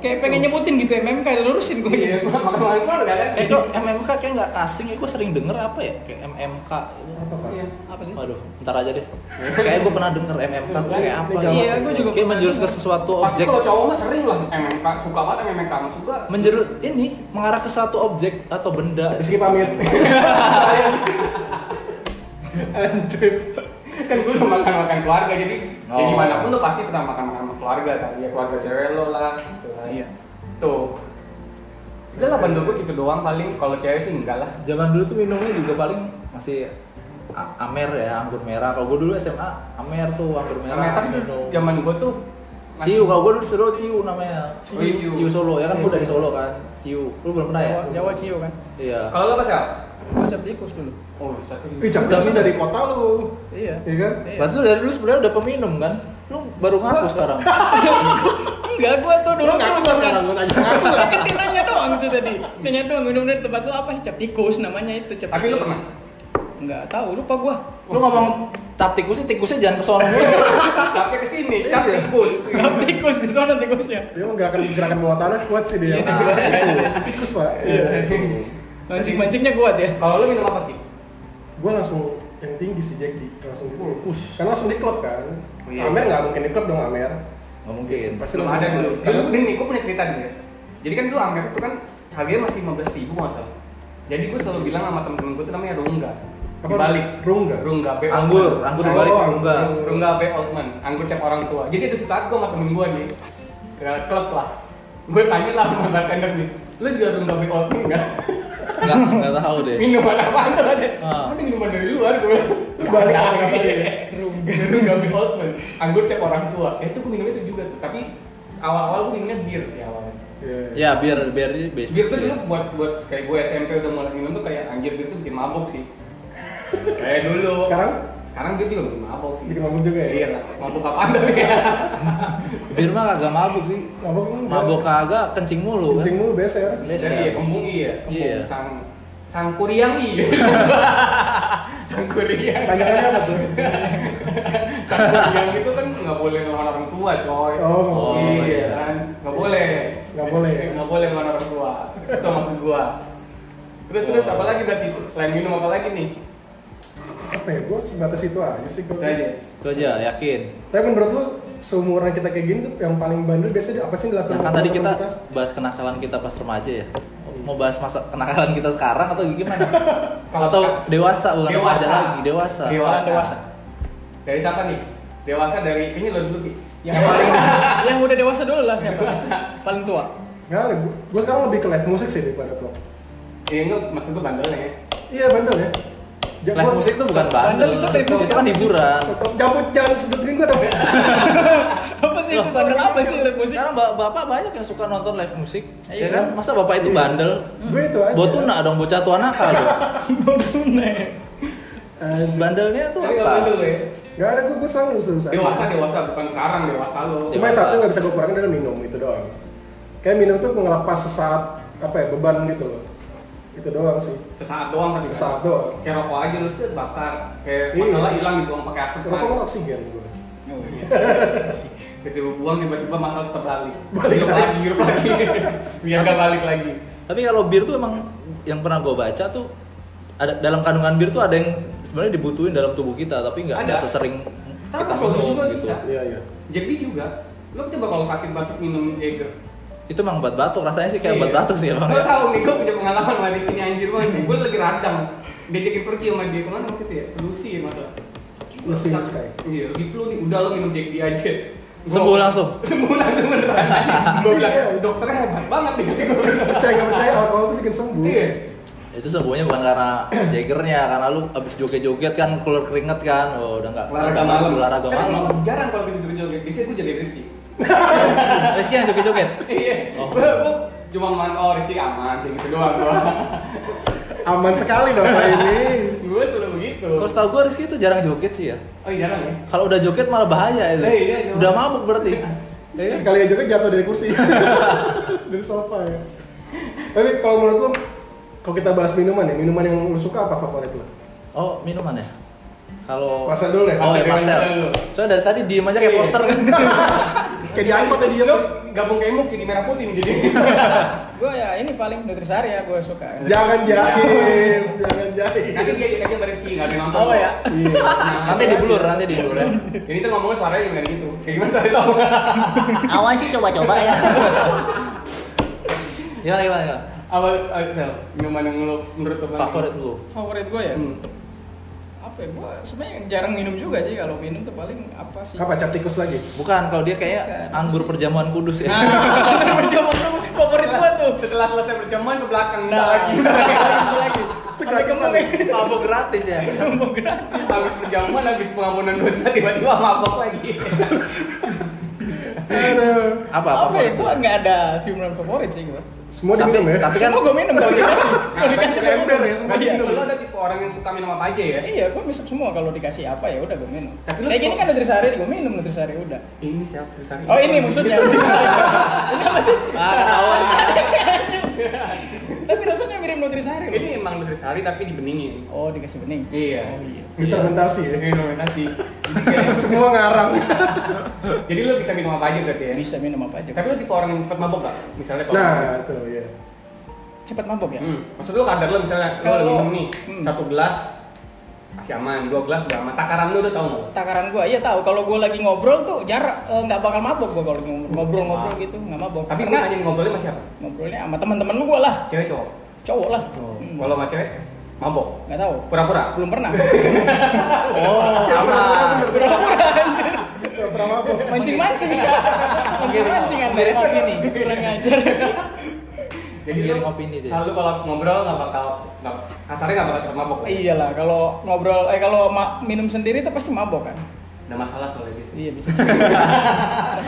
Kayak pengen nyebutin gitu MMK udah lurusin gue gitu. Iya, makan makan keluarga kan? Eh, kok MMK kayak nggak asing ya, gue sering denger apa ya? Kayak MMK. Apa pak? Iya. Apa sih? Waduh, ntar aja deh. Kayaknya gue pernah denger MMK tuh kayak apa Iya, gitu. gua juga Kayak pernah menjurus ke denger. sesuatu Pasti objek. kalau cowok mah sering lah MMK, suka banget MMK masuk gua. Menjurus ini mengarah ke suatu objek atau benda. Rizky pamit. Lanjut. kan gue udah makan makan keluarga jadi Oh. ya gimana pun lo pasti pernah makan makan sama keluarga kan ya keluarga cewek lo lah gitu lah. Iya. tuh udah lah bandel gue gitu doang paling kalau cewek sih enggak lah Zaman dulu tuh minumnya juga paling masih a- amer ya, anggur merah. Kalau gue dulu SMA, amer tuh anggur Nah, merah. tapi minum. zaman gue tuh Ciu, kalau gue dulu Solo Ciu namanya. Ciu. Ciu, Ciu Solo, ya kan gue dari Solo kan. Ciu, lu belum pernah ya? Jawa, Jawa Cio kan. Iya. kalau lo apa sih Al? Gua cap tikus dulu. oh satu Ih, jangan dari kota lu. Iya. Iya kan? Iya. Berarti lu dari dulu sebenarnya udah peminum kan? Lu baru ngaku sekarang. Enggak, gua tuh dulu Lu ngaku tuh nggak sekarang, lu tanya ngaku nggak? Kan dia nanya doang itu tadi. Nanya doang bener-bener tempat lu apa sih cap tikus namanya itu cap tapi lo tikus. pernah Enggak tahu, lupa gua. Lu ngomong tap tikusnya, tikusnya jangan ke sono mulu. capek kesini cap tikus Cap tikus di sana tikusnya. Dia mau gerakan gerakan bawah tanah kuat sih dia. Ah, Nah, Tikus pak. Iya. Mancing-mancingnya kuat ya. kalau lo minum apa sih Gue langsung yang tinggi sih Jack di langsung di push. Karena langsung di klub kan. Oh, iya. Amer nggak mungkin di klub dong Amer. Nggak mungkin. Pasti belum langsung ada dulu di klub. dulu gini Iya, nih gue punya cerita nih ya jadi kan dulu Amer itu kan harganya masih 15.000 ribu nggak salah jadi gue selalu bilang sama temen-temen gue itu namanya rongga Apa? dibalik Rungga. Rungga B. Anggur, Oldman. anggur dibalik, Oh, rungga. Rungga B. Oldman, anggur cek orang tua. Jadi ada saat gue sama temen gue nih, ke klub lah. Gue tanya lah sama bartender nih, lu jual Rungga B. Oldman nggak? Nggak, nggak tahu deh. Minuman apaan tuh ada? Ah. Mana minuman dari luar gue? Balik apa kata dia? Rungga. Rungga B. Oldman, anggur cek orang tua. Ya itu gue minumnya itu juga tuh, tapi awal-awal gue minumnya bir sih awalnya. Iya. Ya biar biar ini basic. Bir tuh sih. Gitu dulu buat buat kayak gue SMP udah mulai minum tuh kayak anjir bir tuh bikin mabok sih. kayak dulu. Sekarang Sekarang dia juga bikin mabok sih. Bikin mabuk juga ya? Iya lah. Mabok apaan tapi Iya, ya? Bir mah kagak mabuk sih. mabok lu nggak? Mabuk kagak kencing mulu kan. Kencing mulu ya. beser. Biasa. Jadi iya, kembung iya. Kembung Iya. sang sang kuriang iya. sang kuriang. Tanyakannya apa tuh? sang kuriang itu kan nggak boleh ngelawan orang tua coy. Oh, Oh. iya, iya. kan nggak boleh. Nggak boleh ya? Nggak boleh ngelawan orang tua. Itu maksud gua. Terus terus Oh. apa lagi berarti selain minum apa lagi nih? Apa ya? Gue sebatas itu aja sih. Udah aja. Itu aja yakin. Tapi menurut lu seumuran kita kayak gini tuh yang paling bandel biasanya apa sih yang dilakukan Nah kan sama tadi kita teman-teman bahas kenakalan kita pas remaja ya. Mau bahas masa kenakalan kita sekarang atau gimana? Kalau atau sekarang- dewasa bukan remaja lagi dewasa. Iya, Dewasa. Orang dewasa. Dari siapa nih? Dewasa dari ini lo dulu Ya, Ki. Yang paling yang udah dewasa dulu lah siapa? Paling tua. Nggak, gue sekarang lebih ke live musik sih daripada vlog. Ini enggak maksud gua bandelnya ya. Iya bandel ya. Ja- Live gua- musik tuh bukan bandel. Bandel itu live musik. itu kan hiburan. Jambut jangan sedetin gue dong. Apa sih itu Loh. bandel apa sih live musik? Sekarang ba- bapak banyak yang suka nonton live musik, Iya ya kan? kan? Masa bapak itu Iya. bandel? Gue itu aja. Botuna dong, bocah tua nakal dong. Eh, Bandelnya tuh Tapi nggak bandel apa? lo ya. Nggak ada gue gue selalu lulus Iya, Dewasa dewasa bukan sekarang dewasa lo. Cuma yang satu nggak bisa gue kurangin adalah minum itu doang. Kayak minum tuh ngelepas sesaat apa ya beban gitu loh. Itu doang sih. Sesaat doang tadi. kan? Sesaat doang. Kayak rokok aja lu set bakar. Kayak Iya. masalah hilang gitu orang pakai asap. Rokok kan oksigen gue. Oh iya. Ketika buang tiba-tiba masalah tetap balik. Balik Hirup lagi. lagi, hirup lagi. Biar nggak balik lagi. Tapi kalau bir tuh emang yang pernah gue baca tuh ada dalam kandungan bir tuh ada yang sebenarnya dibutuhin dalam tubuh kita tapi nggak Ada. nggak sesering Sama, kita soju minum juga gitu. bisa. Iya iya. Jadi juga lo coba kalau sakit batuk minum Jager. Itu emang obat batuk rasanya sih kayak obat batuk sih emang. Gue ya. tau Iya. nih, gue punya pengalaman lah di sini anjir banget. Gue lagi radang. Diajakin pergi sama dia kemana waktu itu ya? Ke Lucy ya mata. Lucy in the Sky. Iya, lagi flu nih. Udah lo minum Jack D aja. Gua- Sembuh langsung. Sembuh langsung beneran. Gue bilang, Iya. dokternya hebat banget nih kasih gue. Percaya nggak percaya alkohol tuh bikin sembuh. Iya. Itu sembuhnya bukan karena jagernya, karena lu abis joget-joget kan keluar keringet kan. Oh, udah nggak Olahraga malam. olahraga Kan malam. gua jarang kalau gitu joget-joget. Biasanya gue jadi Rizky. Rizky yang joget-joget. Iya. Oh. Gue gue cuma man oh Rizky aman kayak gitu doang. Aman sekali dong Pak ini. Gue selalu begitu. Terus tau gue Rizky itu jarang joget sih ya. Oh iya jarang ya. Kalau udah joget malah bahaya itu. Eh, iya, iya. udah mabuk berarti. Iya, Sekali aja kan jatuh dari kursi. dari sofa ya. Tapi kalau menurut lu kalau kita bahas minuman ya, minuman yang lu suka apa favorit lu? Oh, minuman ya? Kalau Marcel dulu deh. Oh ya Marcel Marcel. dulu. Soalnya dari tadi diem aja kayak Iya. poster kan. Kayak diangkut tadi ya, dia Lu tuh. gabung kayak Muk jadi merah putih nih jadi. Gue ya ini paling Nutrisari ya gue suka. Jangan jahim, jangan jahim. Nanti dia ajak aja Mbak Rizky, nggak ada yang nonton. Oh, ya? Iya. Nah, nanti dibulur, nanti dibulur ya. Jadi tuh ngomongnya suaranya gimana gitu. Kayak gimana suara itu? Awal sih coba-coba ya. Gimana gimana? gimana? Awal eh, Sel, minuman yang lu menurut lu paling- Favorit lu. Favorit gue ya. Hmm. Apa ya? Gue sebenarnya jarang minum juga sih. Kalau minum tuh paling apa sih? Nah, Apa cap tikus lagi? Bukan kalau dia kayak Bukan. anggur perjamuan kudus ya. Nah, berjaman tuh favorit gue tuh. Setelah selesai berjaman ke belakang Nah, lagi. lagi lagi. Sampai ke mana? Mabuk gratis ya. Mau gratis. Habis berjaman habis pengampunan dosa tiba-tiba mabok lagi. Aduh. Apa Apa ya? favorit lu? Gue nggak ada film favorit sih gue. Semua Tapi- diminum ya. tapi kan- Semua gue minum kalau dikasih. Kalau dikasih Pakai gua minum. ember ya, semua Iya. diminum. Lu ada tipe orang yang suka minum apa aja ya? Iya, gue minum semua kalau dikasih apa ya udah gue minum. Tapi lu- Kayak gini kan Nutrisari gue minum Nutrisari udah. Ini siapa? Sari? Oh ini maksudnya. ini apa sih? Ah, ketahuan. Tapi rasanya mirip Nutrisari. loh. Ini emang Nutrisari tapi dibeningin. Oh dikasih bening. Iya. Oh, iya. Fermentasi ya. Ini fermentasi. Jadi kayak- Semua ngarang. Jadi lu bisa minum apa aja berarti ya? iya. Bisa minum apa aja. Tapi lu tipe orang yang cepat mabok gak? Misalnya kalau Nah, itu ya. Cepat mabok ya. Hmm. Maksud lu kadar lu misalnya lu Kalau- udah minum nih Hmm. satu gelas masih aman, dua gelas udah aman. Takaran lu udah tau nggak? Takaran gue, iya tahu. Kalau gue lagi ngobrol tuh jarak eh, nggak bakal mabok gue kalau lagi ngobrol- ngobrol-ngobrol gitu nggak mabok. Tapi gue Karena nanya ngobrolnya sama siapa? ngobrolnya sama teman-teman lu gue lah, Cewek cowok. cowok lah. Hmm, Kalau sama cewek mabok. Nggak tahu. Pura-pura. Belum pernah. Oh, sama. Pernah mabuk. Mancing-mancing. Mancing-mancing kan Mirip opini. Kurang ajar. Jadi lu Ngiring opini dia. selalu kalau ngobrol nggak bakal nggak kasarnya nggak bakal cepat mabok. Iyalah Iya kalau ngobrol eh kalau ma- minum sendiri tuh pasti mabok kan. Ada masalah soalnya di sini. Iya bisa.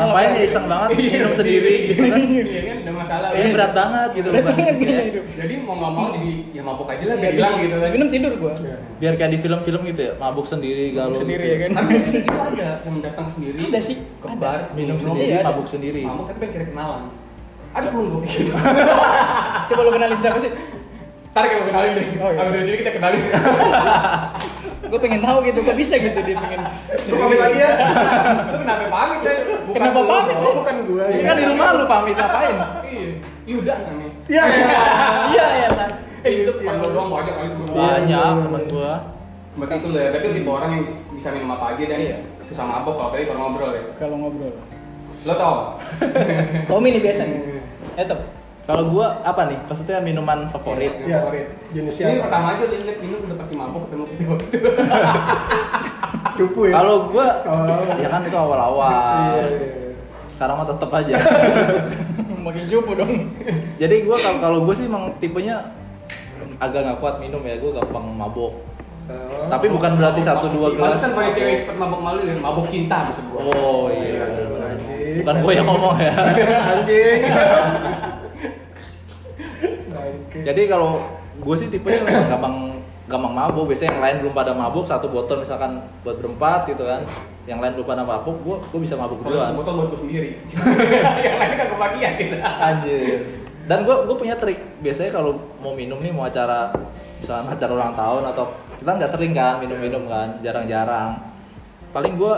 Ngapain ya iseng banget minum sendiri gitu kan. Iya kan ada masalah. Ini berat banget gitu loh. Bang. Kayak- Jadi mau nggak mau jadi ya mabok aja lah Iya, biar hilang abis- gitu abis kan. Minum tidur gua. Iya. Biar kayak di film-film gitu ya, mabuk sendiri galau. Sendiri gitu. ya kan. Tapi di sini itu ada yang datang sendiri. Ada sih, Ke ada. bar, Minum sendiri, Iya, ada. mabuk sendiri. Mabuk tapi pengen cari kenalan. Ada belum gue pikir. Coba lu kenalin siapa sih? Ntar kita kenalin deh. Oh, iya. Abis dari sini kita kenalin. Gua pengen tahu gitu, kok bisa gitu dia pengen. Lu pamit lagi ya? Lu kenapa pamit ya? Kenapa lu, pamit Oh, bukan gua. Ini kan di rumah lu pamit ngapain? Iya. Yuda namanya. Iya, iya. Iya ya lah. Eh itu teman lo doang banyak kali Iya. temen lo. Banyak temen gua. Berarti itu lo ya. Berarti tipe orang yang bisa minum apa aja dan Iya. susah mabok kalau tadi kalau ngobrol ya. Kalau ngobrol. Lo tau? Tommy nih biasa nih. Eh Tom. Kalau gua apa nih? Maksudnya minuman favorit. Iya. Favorit. Jenis Ini siapa? pertama aja lo inget minum udah pasti mabok ketemu kita waktu itu. Cupu ya. Kalau gua Awal-awal. ya kan itu Iya, awal-awal. iya, iya. Sekarang mah tetep aja. Makin cupu dong. Jadi gua kalau kalau gua sih emang tipenya agak nggak kuat minum ya, gua gampang mabok. Oh. Tapi bukan berarti satu dua gelas. Pantesan kan banyak cewek cepet mabok malu ya. Mabok cinta maksud gua. Oh iya. Anjing. Bukan gua yang ngomong ya. anjing. Bangke. Jadi kalau gue sih tipenya memang gampang gampang mabuk. Biasanya yang lain belum pada mabuk, satu botol misalkan buat berempat gitu kan. Yang lain belum pada mabuk, gue gue bisa mabuk Kalau satu duluan. botol buat gue sendiri. yang lainnya gak kebagian gitu. Anjir. Dan gue gue punya trik. Biasanya kalau mau minum nih mau acara misalkan acara ulang tahun atau kita nggak sering kan minum-minum kan, jarang-jarang. Paling gue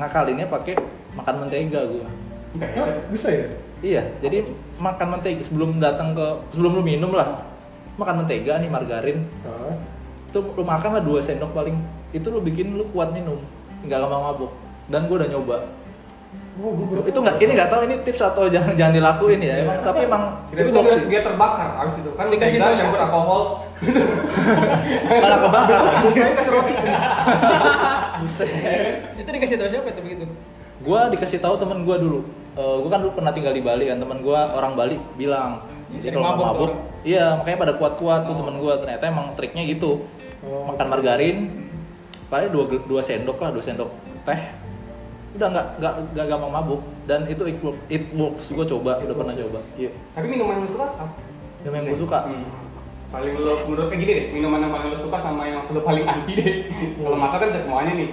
ngakalinnya pakai makan mentega gue. Hah, bisa ya? Iya, jadi makan mentega sebelum datang ke sebelum lu minum lah. Makan mentega nih margarin, Hah? itu lu makan lah dua sendok paling itu lu bikin lu kuat minum nggak gampang mabuk dan gue udah nyoba Oh, gua itu baru- itu nggak ini nggak tahu ini tips atau jangan jangan dilakuin ya emang tapi emang Tapi itu dia, hoax sih dia terbakar abis itu kan Dikasih mentega tahu campur siapa? alkohol. malah kebakar Mukanya kasih roti. Itu dikasih tahu siapa itu begitu? gue dikasih tahu temen gue dulu gue kan dulu pernah tinggal di Bali kan temen gue orang Bali bilang Iya, jadi sering kalau mabuk mau mabuk tuh Oh. iya makanya pada kuat-kuat tuh temen gue ternyata emang triknya gitu Oh. makan margarin paling dua, gel- dua sendok lah dua sendok teh udah nggak nggak nggak gampang mabuk dan itu it, work- it works gue coba udah pernah coba iya Tapi minuman yang lu suka apa? yang yang gue suka Hmm. Paling lu menurut kayak gini deh, minuman yang paling lu suka sama yang lu paling anti deh. Kalau makan kan udah semuanya nih.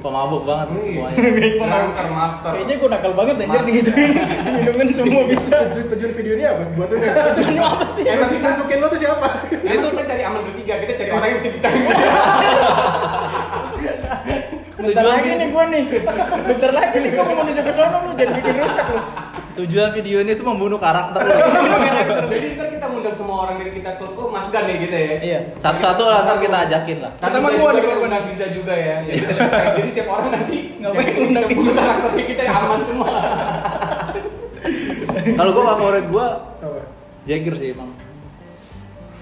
pemabuk banget Semuanya. semuanya Drunker master. Kayaknya gua nakal banget anjir digituin. Minumin semua bisa. Tujuan tujuan video ini apa? Buat lu nih. Tujuannya apa sih? Yang nunjukin lu tuh siapa? Nah, Jadi tuh kita cari aman bertiga, kita cari orang yang bisa kita. Bentar Tujuan lagi sih. nih gua nih. Bentar lagi nih gua mau menuju ke sono lu jangan bikin rusak lu. Tujuan video ini tuh membunuh karakter lu. Jadi ntar kita ngundang semua orang dari kita klub tuh Mas Gan ya gitu ya. Iya. Satu-satu lah ntar kita ajakin lah. Nanti Teman bisa gua juga, nih, kita gua. undang Giza juga ya. Jadi kita lihat, Jadi tiap orang nanti Ngapain yang- undang yang Giza? butuh karakternya kita yang aman semua. Kalau gua favorit gua Apa? Jagger sih emang.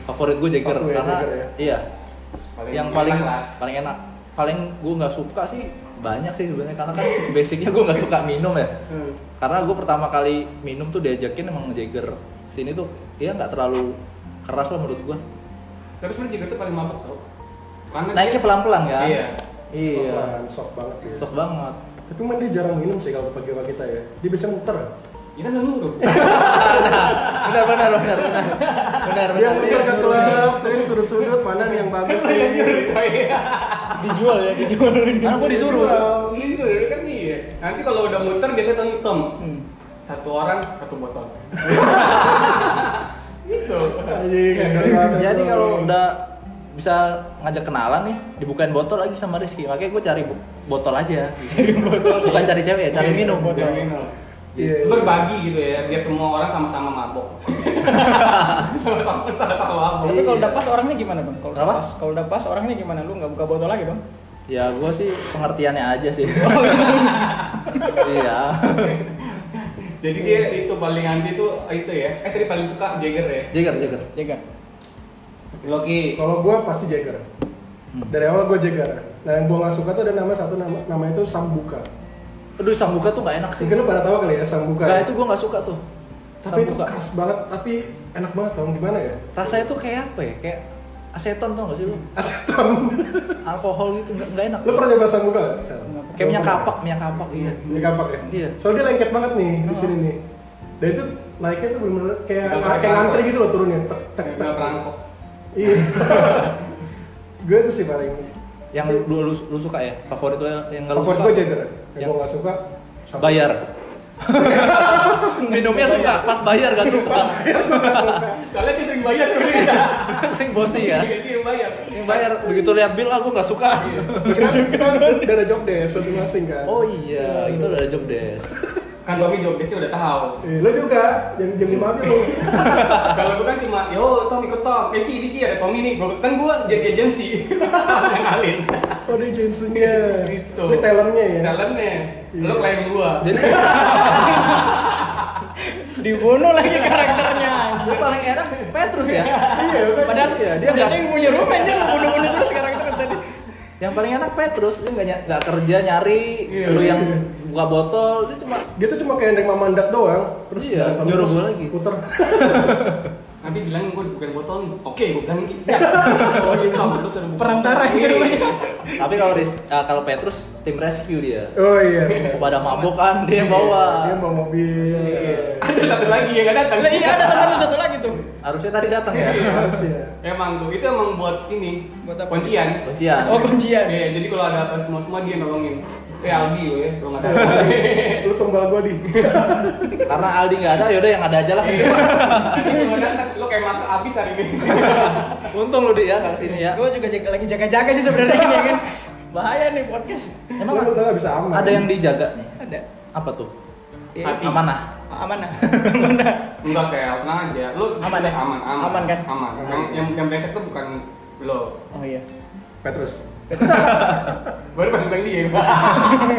Favorit gua Jagger Satu ya, karena Jagger ya? iya yang paling enak lah. paling enak. Paling gua nggak suka sih banyak sih sebenarnya karena kan basicnya gua nggak suka minum ya. Hmm. Karena gua pertama kali minum tuh diajakin emang Jagger. Sini tuh dia nggak terlalu keras lah menurut gua. Tapi sebenarnya juga tuh paling mabuk tau. Karena Naiknya pelan-pelan kan? Iya. Iya. Pelan, soft banget ya. Soft banget. Tapi man dia jarang minum sih kalau pagi sama kita ya. Dia biasanya muter. Ya kan udah nyuruh. Benar benar benar benar. Benar Dia benar. muter ke klub, terus sudut-sudut mana nih yang bagus Kan udah nyuruh nih. coy. Dijual ya, dijual. Karena gua Kan disuruh. Ini tuh dari kan iya. Nanti kalau udah muter biasanya tengok tem. Hmm. Satu orang satu botol. Gitu. Anjing, keren iya, banget Jadi tuh. kalau udah bisa ngajak kenalan nih, dibukain botol lagi sama Rizky. Makanya gue cari bu- botol aja. Cari botol. Bukan cari cewek ya, cari minum. Cari minum. Iya, iya. berbagi gitu ya biar semua orang sama-sama mabok sama-sama sama-sama mabok Tapi kalau udah pas orangnya gimana bang? Kalau udah Kenapa? pas, kalau udah pas orangnya gimana? Lu nggak buka botol lagi bang? Ya gue sih pengertiannya aja sih. iya. jadi dia itu paling anti itu itu ya eh tadi paling suka Jagger ya Jager, jager. Jaga. Loki Kalau gue pasti Jagger. Hmm. Dari awal gue Jagger. Nah yang gue nggak suka tuh ada nama satu nama nama itu Sambuka. Aduh sambuka tuh gak enak sih. Mungkin lu pada tahu kali ya Sambuka. Gak ya? itu gue gak suka tuh. tapi itu Sambuka. keras banget, tapi enak banget tau gimana ya? Rasanya tuh kayak apa ya? Kayak aseton tau gak sih lu? Aseton. Alkohol gitu nggak nggak enak. lu pernah nyoba Sambuka nggak? Sal? Kayak minyak Lu pernah? kapak, minyak kapak iya. Minyak kapak ya? Iya. Oh. Soalnya dia lengket banget nih di sini nih. Dan itu naiknya tuh bener-bener kayak Nggak pakai kayak ngantri mangkok. gitu loh turunnya. Tek tek tek. nggak perangkok Iya. gue tuh sih paling. Yang lu, lu, lu suka ya? Favorit lu yang gak lu Favorit suka? gue Jagger. Yang Yang- gue nggak suka. Sambuka. Bayar. Minumnya suka, pas bayar gak suka. soalnya dia sering bayar dulu kita Sering bosi ya. dia yang bayar Yang bayar begitu lihat bill aku nggak suka. Kita kita udah ada job desk masing-masing kan. Oh iya, itu udah ada job desk. kan Tommy job desk udah tahu Eh, lo juga jam jam lima aja lo. kalau gue kan cuma yo Tom ikut Tom eh Ki ini Ki ada Tommy nih Gua- kan gue jadi agensi kenalin Oh dia jensinya. Gitu. Ini tellernya ya. talentnya lo Iya. klien gue Jadi Dibunuh lagi karakternya. gue paling enak Petrus ya. Iya kan. Padahal ya dia Dia nggak. yang punya rumah aja lu bunuh-bunuh terus karakter tadi. Yang paling enak Petrus dia nggak ny- nggak kerja nyari. Iya, lu iya. yang buka botol dia cuma Dia tuh cuma kayak neng mamandak doang. Terus Iya, datang, nyuruh terus gua lagi. Puter. nanti bilang gue bukan botol nih oke gue bilang gitu ya oh gitu terus ada buka. Perantara aja lu. tapi kalau Riz- eh, kalau Petrus tim rescue dia. Oh iya. Pada mabok kan dia yang Dia bawa. Iya. bawa mobil. Iya. ada satu lagi yang gak datang Lah iya ada teman lu satu lagi tuh. Harusnya tadi datang ya. Harus ya. Emang tuh itu emang buat ini, Buat apa? Kuncian. Kuncian. Oh kuncian. Iya, jadi kalau ada apa semua semua dia nolongin. Eh Aldi lo ya, lo nggak tahu. Lu tunggal gua di. Karena Aldi nggak ada, yaudah yang ada aja lah. Nanti Iya. kalau nggak datang, lo kayak masuk abis hari ini. Untung lu dia nggak kesini ya. Gue juga jaga- lagi jaga-jaga sih sebenarnya ini ya kan. Bahaya nih podcast. Emang Lu udah nggak bisa aman. ada yang dijaga nih. Ada. Apa tuh? Eh, Ya, Hati. Amanah. Amanah. Enggak kayak tenang aja. Lo Aman ya? aman, aman, Aman kan? Aman. Yang yang yang brengsek tuh bukan lo. Oh iya. Petrus. Baru bang bang dia.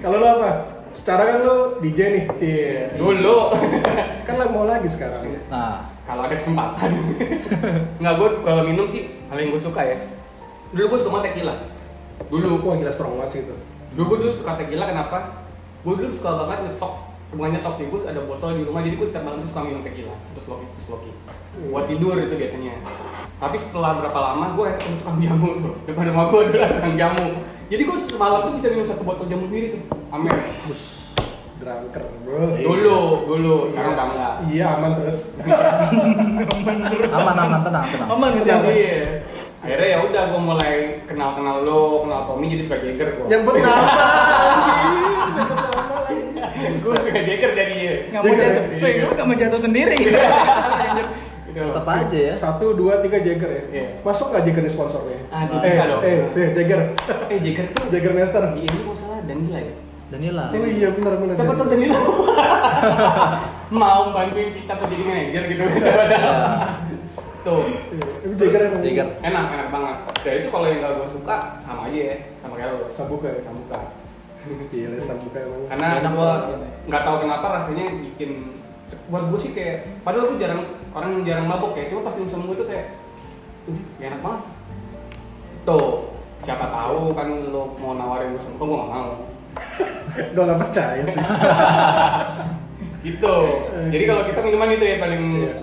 Kalau lu apa? Secara kan lu DJ nih. Iya. Dulu. Kan lah mau lagi sekarang. Nah, Kalau ada kesempatan. Nggak gue kalau minum sih hal yang gue suka ya. Dulu gue suka banget tequila. Dulu. Wah gila strong banget sih itu. Dulu gue dulu suka tequila kenapa? Gue dulu suka banget nyetok Bukan nyetok sih, gue ada botol di rumah jadi gue setiap malam tuh suka minum tequila Terus loki, terus loki Buat tidur itu biasanya Tapi setelah berapa lama gue ketemu tukang jamu tuh Depan rumah gue ada tukang jamu Jadi gue semalam tuh bisa minum satu botol jamu sendiri tuh Amin Drunker bro. Dulu, dulu, sekarang udah enggak Iya aman terus. aman aman tenang tenang. Aman sih. aman. Iya Akhirnya ya udah gue mulai kenal-kenal lo, kenal Tommy jadi suka Jagger gue Nyebut nama. anjing. Nyebut nama lagi. Gue suka Jagger jadi Nggak mau Iya. Jaga Iya. ya? jatuh. Gue nggak mau jatuh sendiri. Itu tetap aja ya Satu, dua, tiga Jagger ya. Iya. Masuk nggak Jagger di sponsornya? Aduh, eh, bisa dong. eh, eh, Jagger, Eh Jagger tuh Jagger Nester. di ini masalah Danila ya. Danila Oh iya benar benar. Siapa tuh Danila? Mau bantuin kita tuh jadi manajer gitu kan Ya. sebenarnya. Tuh. Itu Eh, Jagger yang Jagger. Enak, enak banget. Ya itu kalau yang gak gue suka sama aja ya, sama kayak lo. Sambuka ya. Sambuka. Gila Sambuka emang. Karena Enak gue gitu banget. ya. nggak tahu kenapa rasanya bikin buat gue sih kayak padahal gue jarang orang yang jarang mabok ya cuma pas minum sama gue tuh kayak "Ih, nggak enak banget tuh siapa tahu kan lo mau nawarin gue sama gue gak mau Udah nggak percaya sih. gitu jadi kalau kita minuman itu ya paling Iya.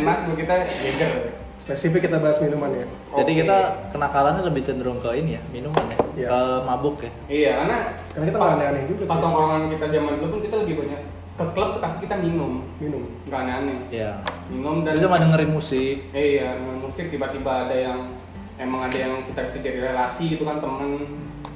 enak buat kita Jager Spesifik kita bahas minuman ya. jadi Oke. kita kenakalannya lebih cenderung ke ini ya minuman ya Iya. ke mabuk ya iya karena Karena kita nggak aneh-aneh juga pas sih. tongkrongan kita zaman dulu pun kita lebih banyak ke klub tapi kita minum Minum. nggak aneh-aneh ya minum dan itu cuma dengerin musik Eh, iya, dengan musik tiba-tiba ada yang emang ada yang kita bisa jadi relasi gitu kan temen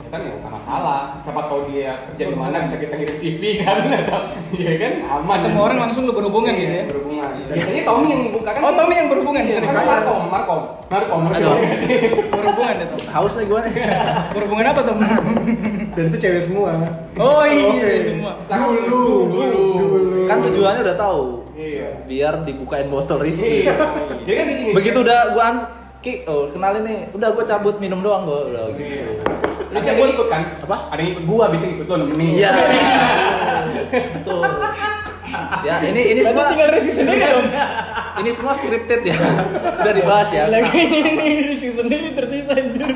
ya kan ya bukan masalah siapa tahu dia kerja di mana bisa kita kirim CV kan atau ya kan aman Ketemu orang langsung lu berhubungan Iya, gitu ya. berhubungan biasanya Tommy yang buka kan Oh, Tommy yang berhubungan iya, di sini. kan Markom Markom Markom Aduh. Berhubungan deh, Tom. haus nih gue nih Berhubungan apa, Tom? Dan itu cewek semua. Oh iya, Oke. semua. Dulu, Dulu. kan tujuannya udah tahu iya biar dibukain botol Rizky iya dia kan gini begitu udah gue an ki oh kenalin nih udah gue cabut minum doang gue udah Iya. gitu Lu cabut ikut kan? Apa? Ada yang ikut gua bisa ikut lu nemenin. iya betul ya ini ini Berarti semua Iya. tinggal resi sendiri dong. ini semua scripted ya udah dibahas ya Lagi ini resi sendiri tersisa anjir.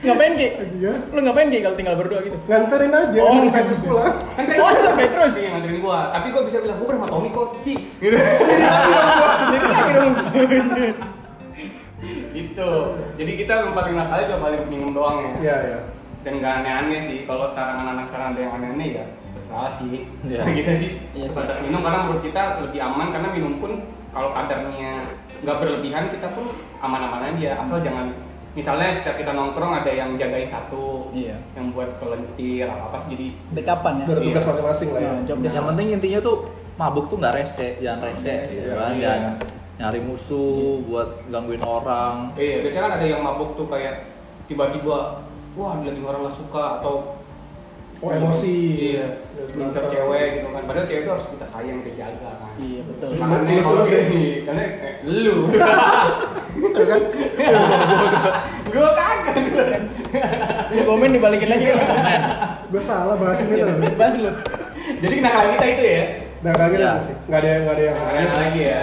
Ngapain, Ki? Iya. Lu ngapain, Ki, kalau tinggal berdua gitu? Nganterin aja. Oh. Oh. Petrus pulang. Kan kayak Oh, sampai terus. terus sih yang nganterin gua. Tapi gua bisa bilang gua bersama Tommy kok, Ki. Gitu. Sendiri lagi dong. gitu. Jadi kita yang paling nakal cuma paling minum doang ya. Iya iya. Dan nggak aneh-aneh sih kalau sekarang anak-anak sekarang ada yang aneh-aneh ya terserah sih. Iya. Gitu sih. Iya sih. Sebatas minum karena menurut kita lebih aman karena minum pun kalau kadarnya nggak berlebihan kita pun aman-aman aja asal jangan misalnya setiap kita nongkrong ada yang jagain satu Iya. yang buat kelentir apa apa sih. jadi Backupan ya. Bertugas masing-masing lah ya. Nah, job desk. yang penting intinya tuh mabuk tuh nggak rese jangan rese Rese, gitu kan iya. jangan nyari musuh buat gangguin orang Iya, biasanya kan ada yang mabuk tuh kayak tiba-tiba wah dilihatin orang nggak suka atau Oh emosi. Iya, ngincer cewek gitu kan. Padahal cewek itu harus kita sayang, kita jaga kan. Iya, betul. Makanya Lu kalau sih. gini, karena eh, lu. Iya kan? Gue kagak gue. gitu, Lu komen Iya, dibalikin lagi kan. Gue salah bahas ini loh. Bebas lu. Jadi kenakalan kita itu ya. Nah kali Iya. kita sih. Nggak ada yang nggak ada yang. Kenakalan lagi ya.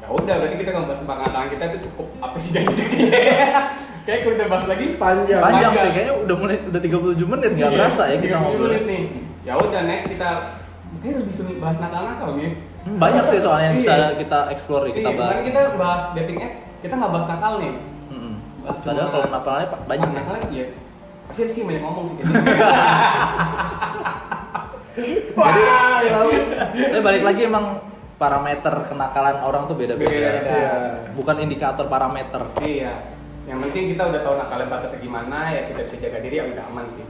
Ya udah, berarti kita nggak bahas tentang kenakalan kita itu cukup apa sih jadi jadinya ya. Kayak kalau kita bahas lagi Panjang. panjang Iya, Panjang. sih kayaknya udah mulai udah 37 menit nggak Iya, berasa ya kita 30 ngobrol menit nih. Ya udah next kita Kayaknya lebih seru bahas nakal-nakal nih. Hmm, banyak sih soalnya yang bisa Iya. kita explore nih, kita Iya, bahas kemarin kita bahas dating app, kita nggak bahas nakal nih. Mm-mm. Bahas padahal cuma- kalau nakalnya banyak Ah, ya Nakal lagi ya. Pasti Rizky banyak ngomong sih. gitu. Wah, ya lalu. tapi balik lagi emang parameter kenakalan orang tuh beda-beda Beda-beda. Iya. bukan indikator parameter Iya. Yang penting kita udah tahu nakalnya batasnya gimana, ya kita bisa jaga diri, ya udah aman sih.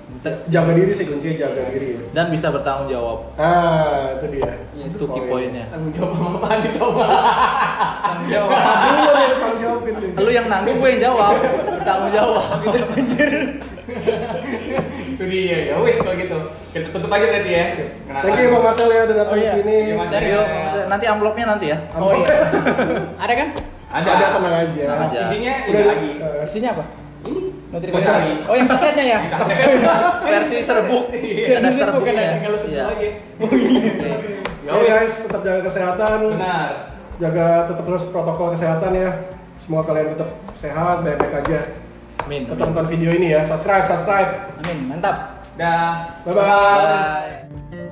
Jaga diri sih kunci jaga diri. dan bisa bertanggung jawab Ah, itu dia. Iya, itu key pointnya Tanggung jawab sama apa nih, Toma? Tanggung Iya, jawab. Belum ada tanggung jawabin nih. lu yang nanggung gue yang jawab bertanggung jawab Itu dia, ya wis kalau gitu. Kita tutup aja tadi ya. Kenapa? Thank you Bang Marcel ya udah datang Oh, di iya. sini. Terima kasih. Jadi, nanti amplopnya nanti ya Oh iya. Ada kan? Ada. Ada tenang aja. Tenang aja. Isinya ini Udah Iya, lagi. eh, Isinya apa? Ini. Nutrisi. Kocak. Oh, yang sasetnya ya. Yang kaset. versi serbuk Iya, ada versi serbuk, serbuknya ada Kalau Iya. sebelah lagi. Ya Ya wis. guys, tetap jaga kesehatan, Benar. jaga tetap terus protokol kesehatan ya. Semoga kalian tetap sehat, baik-baik aja. Amin. Tetap nonton video ini ya, subscribe, subscribe. Amin, mantap. Dah. Bye-bye. Bye.